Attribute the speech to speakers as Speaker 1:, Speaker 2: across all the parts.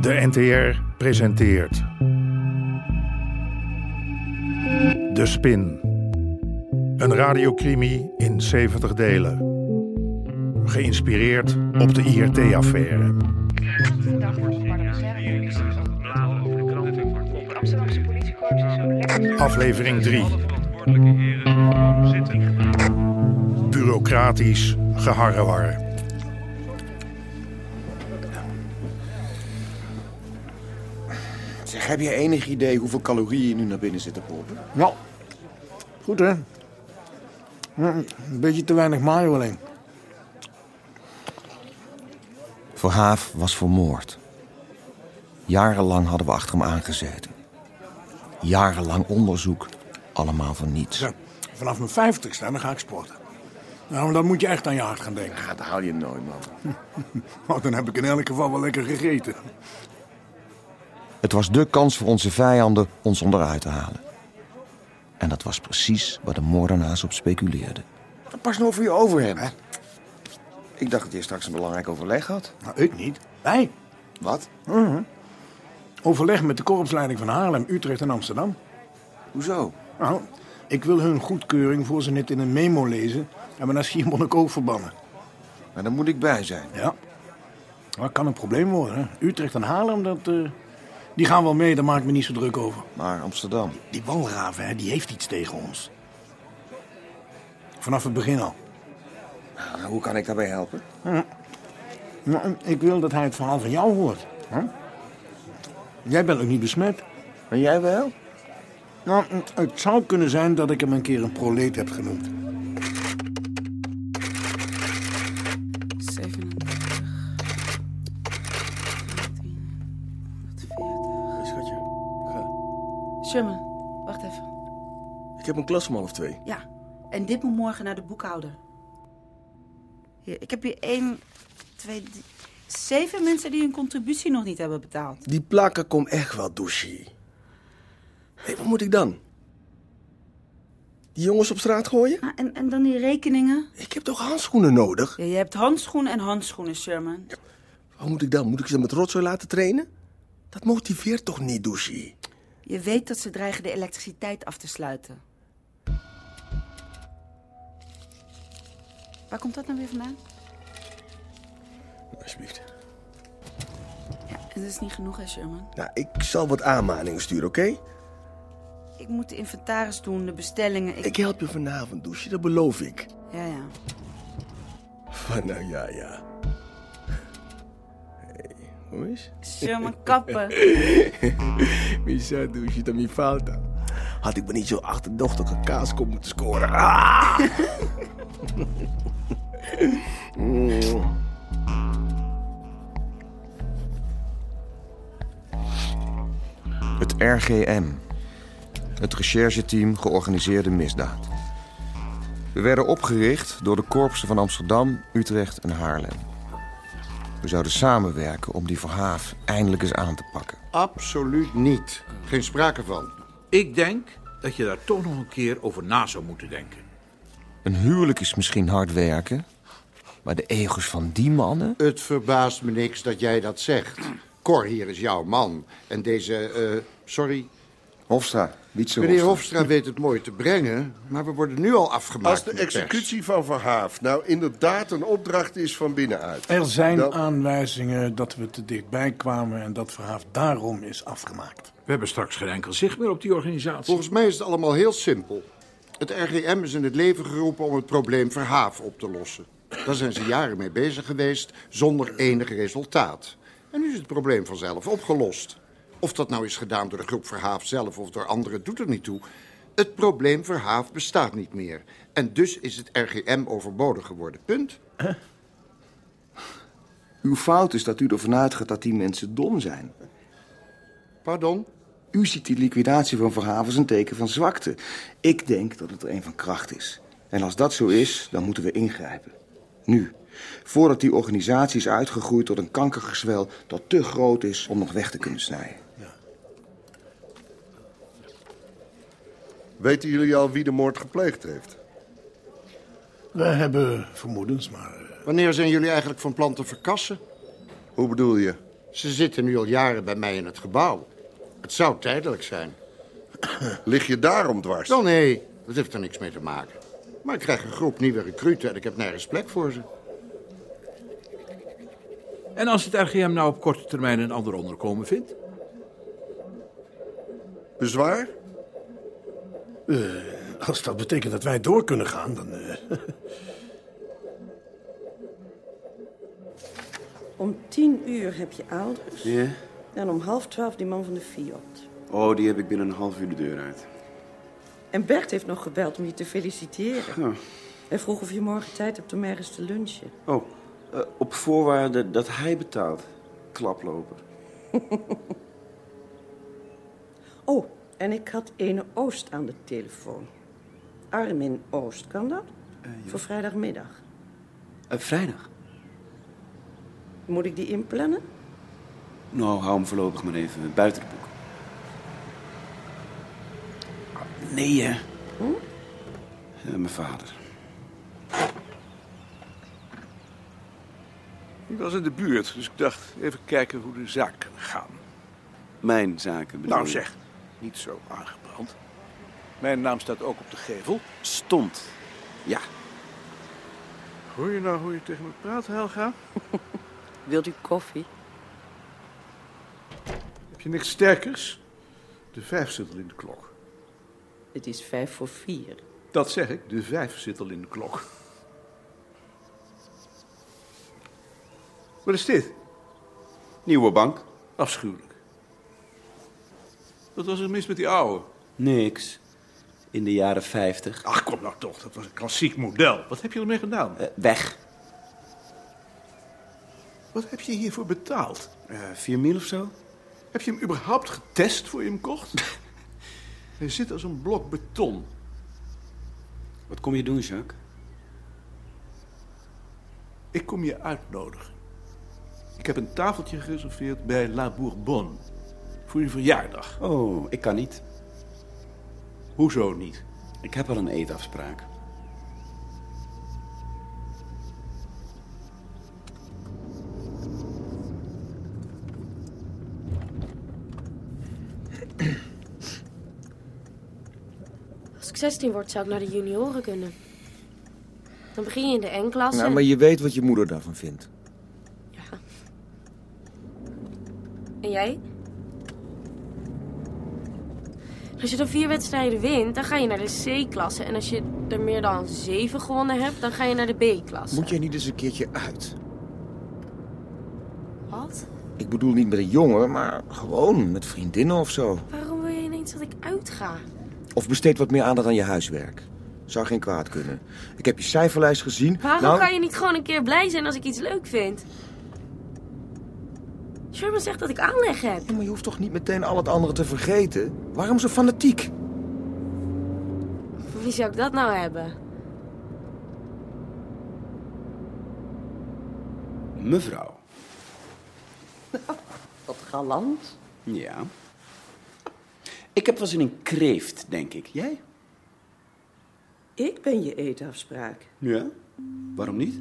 Speaker 1: De NTR presenteert. De Spin. Een radiocrimi in 70 delen. Geïnspireerd op de IRT-affaire.
Speaker 2: Amsterdamse politiekorps is zo lekker.
Speaker 1: Aflevering 3. Bureaucratisch geharrewar.
Speaker 3: Zeg, heb je enig idee hoeveel calorieën je nu naar binnen zit te pompen?
Speaker 4: Nou, goed hè. Ja, Een beetje te weinig mayo alleen.
Speaker 3: Verhaaf was vermoord. Jarenlang hadden we achter hem aangezeten. Jarenlang onderzoek, allemaal voor niets.
Speaker 4: Ja, vanaf mijn vijftigste hè, dan ga ik sporten. Nou, maar dan moet je echt aan je hart gaan denken.
Speaker 3: dat haal je nooit, man.
Speaker 4: Want dan heb ik in elk geval wel lekker gegeten.
Speaker 3: Het was de kans voor onze vijanden ons onderuit te halen. En dat was precies waar de moordenaars op speculeerden. Pas nou voor je over hem. Ik dacht dat je straks een belangrijk overleg had.
Speaker 4: Nou, ik niet. Wij.
Speaker 3: Wat?
Speaker 4: Overleg met de korpsleiding van Haarlem, Utrecht en Amsterdam.
Speaker 3: Hoezo?
Speaker 4: Nou, ik wil hun goedkeuring voor ze het in een memo lezen. En me naar Schiermonnikoog verbannen.
Speaker 3: Maar daar moet ik bij zijn.
Speaker 4: Ja. Dat kan een probleem worden. Hè? Utrecht en Haarlem, dat, eh, die gaan wel mee. Daar maak ik me niet zo druk over.
Speaker 3: Maar Amsterdam.
Speaker 4: Die walraven, hè, die heeft iets tegen ons. Vanaf het begin al.
Speaker 3: Hoe kan ik daarbij helpen?
Speaker 4: Nou, ik wil dat hij het verhaal van jou hoort. hè? Jij bent ook niet besmet.
Speaker 3: En jij wel?
Speaker 4: Nou, het zou kunnen zijn dat ik hem een keer een proleet heb genoemd.
Speaker 5: 37. 14. 140.
Speaker 6: Schatje, ga.
Speaker 5: Sherman, wacht even.
Speaker 6: ik heb een klas om half twee.
Speaker 5: Ja, en dit moet morgen naar de boekhouder. Hier, ik heb hier één, twee, drie, zeven mensen die hun contributie nog niet hebben betaald.
Speaker 6: Die plakken kom echt wel, douchie. Hé, wat moet ik dan? Die jongens op straat gooien?
Speaker 5: Ah, en, en dan die rekeningen.
Speaker 6: Ik heb toch handschoenen nodig?
Speaker 5: Ja, je hebt handschoenen en handschoenen, Sherman.
Speaker 6: Wat moet ik dan? Moet ik ze met rotzooi laten trainen? Dat motiveert toch niet, douchie?
Speaker 5: Je weet dat ze dreigen de elektriciteit af te sluiten. Waar komt dat nou weer vandaan?
Speaker 6: Alsjeblieft.
Speaker 5: Ja, dat is niet genoeg, hè, Sherman?
Speaker 6: Nou, ik zal wat aanmaningen sturen, oké?
Speaker 5: Ik moet de inventaris doen, de bestellingen. Ik...
Speaker 6: Ik help je vanavond, douchie, dat beloof ik.
Speaker 5: Ja, ja.
Speaker 6: Van, nou ja, ja. Hé, hoe is?
Speaker 5: Sherman, kappen.
Speaker 6: Misa, douche, dat mi fout Had ik me niet zo achterdochtige kaaskop moeten scoren. Ah!
Speaker 3: Het RGM. Het rechercheteam georganiseerde misdaad. We werden opgericht door de korpsen van Amsterdam, Utrecht en Haarlem. We zouden samenwerken om die Verhaaf eindelijk eens aan te pakken.
Speaker 7: Absoluut niet. Geen sprake van.
Speaker 8: Ik denk dat je daar toch nog een keer over na zou moeten denken.
Speaker 3: Een huwelijk is misschien hard werken, maar de ego's van die mannen...
Speaker 7: Het verbaast me niks dat jij dat zegt. Cor hier is jouw man. En deze, eh, sorry,
Speaker 3: Hofstra, niet zo
Speaker 7: meneer Hofstra weet het mooi te brengen. Maar we worden nu al afgemaakt.
Speaker 9: Als de
Speaker 7: in pers.
Speaker 9: executie van Verhaaf nou inderdaad een opdracht is van binnenuit.
Speaker 4: Er zijn
Speaker 9: Dan-
Speaker 4: aanwijzingen dat we te dichtbij kwamen en dat verhaaf daarom is afgemaakt.
Speaker 8: We hebben straks geen enkel zicht meer op die organisatie.
Speaker 7: Volgens mij is het allemaal heel simpel. Het RGM is in het leven geroepen om het probleem Verhaaf op te lossen. Daar zijn ze jaren mee bezig geweest, zonder enig resultaat. En nu is het probleem vanzelf opgelost. Of dat nou is gedaan door de groep Verhaaf zelf of door anderen, doet er niet toe. Het probleem Verhaaf bestaat niet meer. En dus is het RGM overbodig geworden. Punt.
Speaker 3: Uw fout is dat u ervan uitgaat dat die mensen dom zijn.
Speaker 7: Pardon?
Speaker 3: U ziet die liquidatie van Verhaven als een teken van zwakte. Ik denk dat het er een van kracht is. En als dat zo is, dan moeten we ingrijpen. Nu. Voordat die organisatie is uitgegroeid tot een kankergezwel dat te groot is om nog weg te kunnen snijden.
Speaker 9: Weten jullie al wie de moord gepleegd heeft?
Speaker 4: We hebben vermoedens, maar... eh,
Speaker 7: Wanneer zijn jullie eigenlijk van plan te verkassen?
Speaker 9: Hoe bedoel je?
Speaker 7: Ze zitten nu al jaren bij mij in het gebouw. Het zou tijdelijk zijn.
Speaker 9: Lig je daarom dwars?
Speaker 7: Wel nee, dat heeft er niks mee te maken. Maar ik krijg een groep nieuwe recruten en ik heb nergens plek voor ze.
Speaker 8: En als het RGM nou op korte termijn een ander onderkomen vindt?
Speaker 9: Bezwaar?
Speaker 10: Als dat betekent dat wij door kunnen gaan, dan... eh,
Speaker 5: Om tien uur heb je ouders.
Speaker 6: Ja?
Speaker 5: En om half twaalf die man van de Fiat.
Speaker 6: Oh, die heb ik binnen een half uur de deur uit.
Speaker 5: En Bert heeft nog gebeld om je te feliciteren.
Speaker 6: Oh.
Speaker 5: Hij vroeg of je morgen tijd hebt om ergens te lunchen.
Speaker 6: Oh, eh, op voorwaarde dat hij betaalt. Klaploper.
Speaker 5: Oh, en ik had Ene Oost aan de telefoon. Armin Oost, kan dat? Voor vrijdagmiddag.
Speaker 6: Eh, vrijdag?
Speaker 5: Moet ik die inplannen?
Speaker 6: Nou, hou hem voorlopig maar even buiten de boek. Nee, hè? Eh, mijn vader.
Speaker 11: Ik was in de buurt, dus ik dacht even kijken hoe de zaak kan gaan.
Speaker 6: Mijn zaken bedoel
Speaker 11: Nou
Speaker 6: je?
Speaker 11: zeg, niet zo aangebrand. Mijn naam staat ook op de gevel.
Speaker 6: Stond. Ja.
Speaker 11: Hoor je nou hoe je tegen me praat, Helga?
Speaker 5: Wilt u koffie?
Speaker 11: Heb je niks sterkers? De vijf zit al in de klok.
Speaker 5: Het is vijf voor vier.
Speaker 11: Dat zeg ik, de vijf zit al in de klok. Wat is dit?
Speaker 6: Nieuwe bank.
Speaker 11: Afschuwelijk. Wat was er mis met die oude?
Speaker 6: Niks. In de jaren 50.
Speaker 11: Ach, kom nou toch, dat was een klassiek model. Wat heb je ermee gedaan?
Speaker 6: weg.
Speaker 11: Wat heb je hiervoor betaald?
Speaker 4: Eh,
Speaker 6: vier mil of zo?
Speaker 11: Heb je hem überhaupt getest voor je hem kocht? Hij zit als een blok beton.
Speaker 6: Wat kom je doen, Jacques?
Speaker 11: Ik kom je uitnodigen. Ik heb een tafeltje gereserveerd bij La Bourbonne. Voor je verjaardag.
Speaker 6: Oh, ik kan niet.
Speaker 11: Hoezo niet?
Speaker 6: Ik heb al een eetafspraak.
Speaker 12: Als ik 16 word, zou ik naar de junioren kunnen. Dan begin je in de N-klasse.
Speaker 3: Nou, maar je weet wat je moeder daarvan vindt.
Speaker 12: En jij? Als je dan vier wedstrijden wint, dan ga je naar de C-klasse. En als je er meer dan zeven gewonnen hebt, dan ga je naar de B-klasse.
Speaker 3: Moet jij niet eens een keertje uit?
Speaker 12: Wat?
Speaker 3: Ik bedoel niet met een jongen, maar gewoon met vriendinnen of zo.
Speaker 12: Waarom wil je ineens dat ik uitga?
Speaker 3: Of besteed wat meer aandacht aan je huiswerk. Zou geen kwaad kunnen. Ik heb je cijferlijst gezien.
Speaker 12: Waarom
Speaker 3: nou,
Speaker 12: kan je niet gewoon een keer blij zijn als ik iets leuk vind? Sherman zegt dat ik aanleg heb.
Speaker 3: maar je hoeft toch niet meteen al het andere te vergeten? Waarom zo fanatiek?
Speaker 12: Van Wie zou ik dat nou hebben?
Speaker 6: Mevrouw.
Speaker 5: Wat galant.
Speaker 6: Ja. Ik heb wel zin in kreeft, denk ik. Jij?
Speaker 5: Ik ben je eetafspraak.
Speaker 6: Ja. Waarom niet?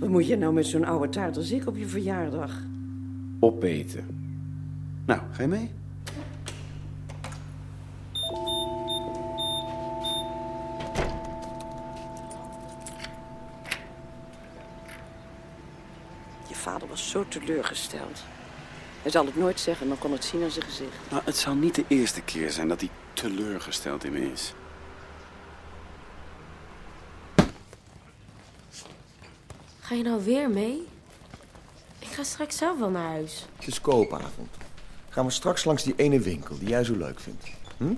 Speaker 5: Wat moet je nou met zo'n oude taart als ik op je verjaardag?
Speaker 6: Opeten. Nou, ga je mee?
Speaker 5: Je vader was zo teleurgesteld. Hij zal het nooit zeggen, maar kon het zien aan zijn gezicht.
Speaker 6: Nou, het zal niet de eerste keer zijn dat hij teleurgesteld in me is.
Speaker 12: Ga je nou weer mee? Ik ga straks zelf wel naar huis.
Speaker 3: Het is koopavond. Gaan we straks langs die ene winkel die jij zo leuk vindt. Hm?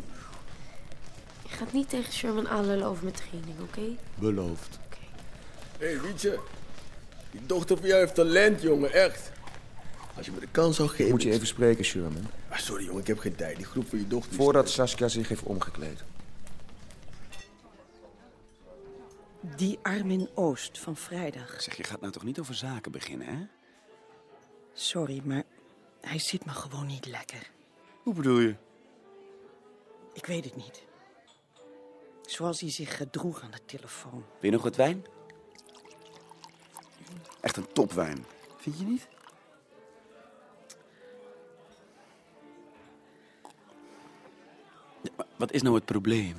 Speaker 12: Je gaat niet tegen Sherman aanlullen over mijn training, oké?
Speaker 3: Beloofd.
Speaker 13: Hé, hey, Rietje. Die dochter van jou heeft talent, jongen, echt. Als je me de kans zou geven...
Speaker 3: Moet je even spreken, Sherman.
Speaker 13: Ah, sorry, jongen, ik heb geen tijd. Die groep van je dochter... is-
Speaker 3: Voordat Saskia zich heeft omgekleed.
Speaker 5: Die Armin Oost van vrijdag.
Speaker 6: Zeg, je gaat nou toch niet over zaken beginnen, hè?
Speaker 5: Sorry, maar hij zit me gewoon niet lekker.
Speaker 6: Hoe bedoel je?
Speaker 5: Ik weet het niet. Zoals hij zich gedroeg aan de telefoon.
Speaker 6: Wil je nog wat wijn? Echt een topwijn. Vind je niet?
Speaker 14: Wat is nou het probleem?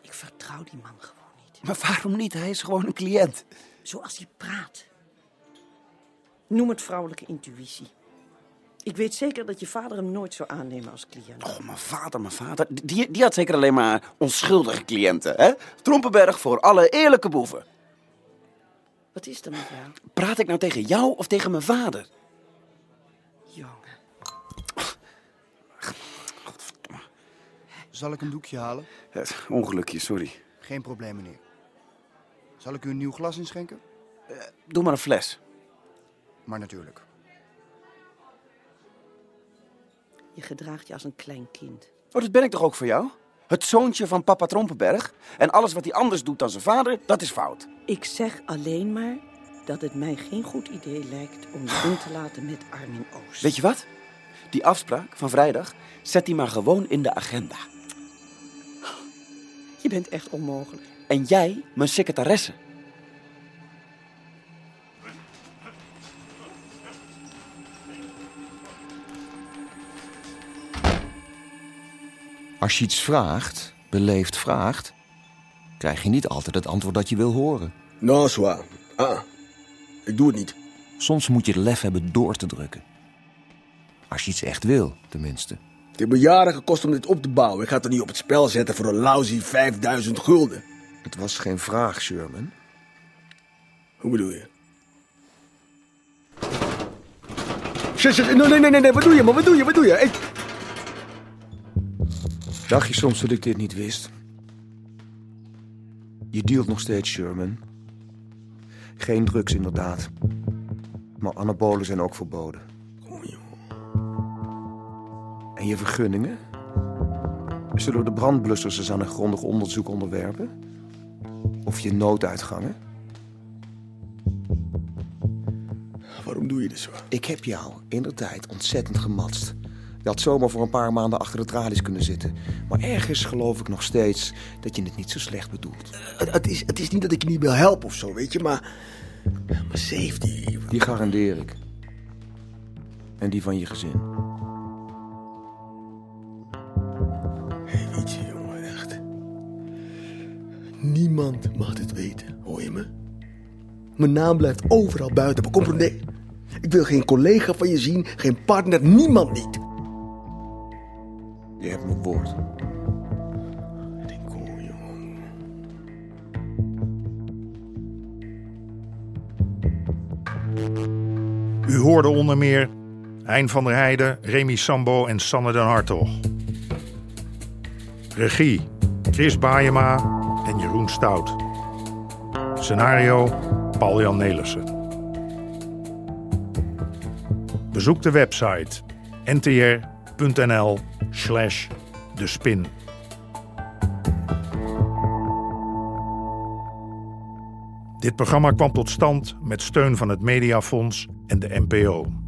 Speaker 5: Ik vertrouw die man gewoon.
Speaker 6: Maar waarom niet? Hij is gewoon een cliënt.
Speaker 5: Zoals hij praat. Noem het vrouwelijke intuïtie. Ik weet zeker dat je vader hem nooit zou aannemen als cliënt.
Speaker 6: Oh, mijn vader, mijn vader. Die, die had zeker alleen maar onschuldige cliënten, hè? Trompenberg voor alle eerlijke boeven.
Speaker 5: Wat is er met jou?
Speaker 6: Praat ik nou tegen jou of tegen mijn vader?
Speaker 5: Jongen.
Speaker 7: Zal ik een doekje halen?
Speaker 6: Eh, Ongelukje, sorry.
Speaker 7: Geen probleem, meneer. Zal ik u een nieuw glas inschenken?
Speaker 6: Doe maar een fles.
Speaker 7: Maar natuurlijk.
Speaker 5: Je gedraagt je als een klein kind.
Speaker 6: Oh, dat ben ik toch ook voor jou? Het zoontje van papa Trompenberg. En alles wat hij anders doet dan zijn vader, dat is fout.
Speaker 5: Ik zeg alleen maar dat het mij geen goed idee lijkt om je in te laten met Armin Oost.
Speaker 6: Weet je wat? Die afspraak van vrijdag, zet die maar gewoon in de agenda.
Speaker 5: Je bent echt onmogelijk.
Speaker 6: En jij, mijn secretaresse.
Speaker 3: Als je iets vraagt, beleefd vraagt, krijg je niet altijd het antwoord dat je wil horen.
Speaker 4: Non, soir. Ah, ik doe het niet.
Speaker 3: Soms moet je het lef hebben door te drukken. Als je iets echt wil, tenminste.
Speaker 4: Het heeft me jaren gekost om dit op te bouwen. Ik ga het er niet op het spel zetten voor een lousy 5000 gulden.
Speaker 3: Het was geen vraag, Sherman.
Speaker 4: Hoe bedoel je? Shit, shit, nee, nee, nee, nee, wat doe je, man? Wat doe je, wat doe je? Ik...
Speaker 3: Dacht je soms dat ik dit niet wist? Je dealt nog steeds, Sherman. Geen drugs, inderdaad. Maar anabolen zijn ook verboden. En je vergunningen? Zullen de brandblussers eens aan een grondig onderzoek onderwerpen? Of je nooduitgangen?
Speaker 4: Waarom doe je dit zo?
Speaker 3: Ik heb jou inderdaad ontzettend gematst. Je had zomaar voor een paar maanden achter de tralies kunnen zitten. Maar ergens geloof ik nog steeds dat je het niet zo slecht bedoelt.
Speaker 4: Het, het is, het is niet dat ik je niet wil helpen of zo, weet je, maar... Maar safety...
Speaker 3: Die garandeer ik. En die van je gezin.
Speaker 4: Weet je, jongen, echt. Niemand mag dit weten, hoor je me? Mijn naam blijft overal buiten, maar comprende. Ik wil geen collega van je zien, geen partner, niemand niet.
Speaker 3: Je hebt mijn woord.
Speaker 1: U hoorde onder meer Hein van der Heijden, Remy Sambo en Sanne den Hartog. Regie Chris Baayema en Jeroen Stout. Scenario Paul-Jan Nelissen. Bezoek de website ntr.nl slash de spin. Dit programma kwam tot stand met steun van het Mediafonds en de NPO.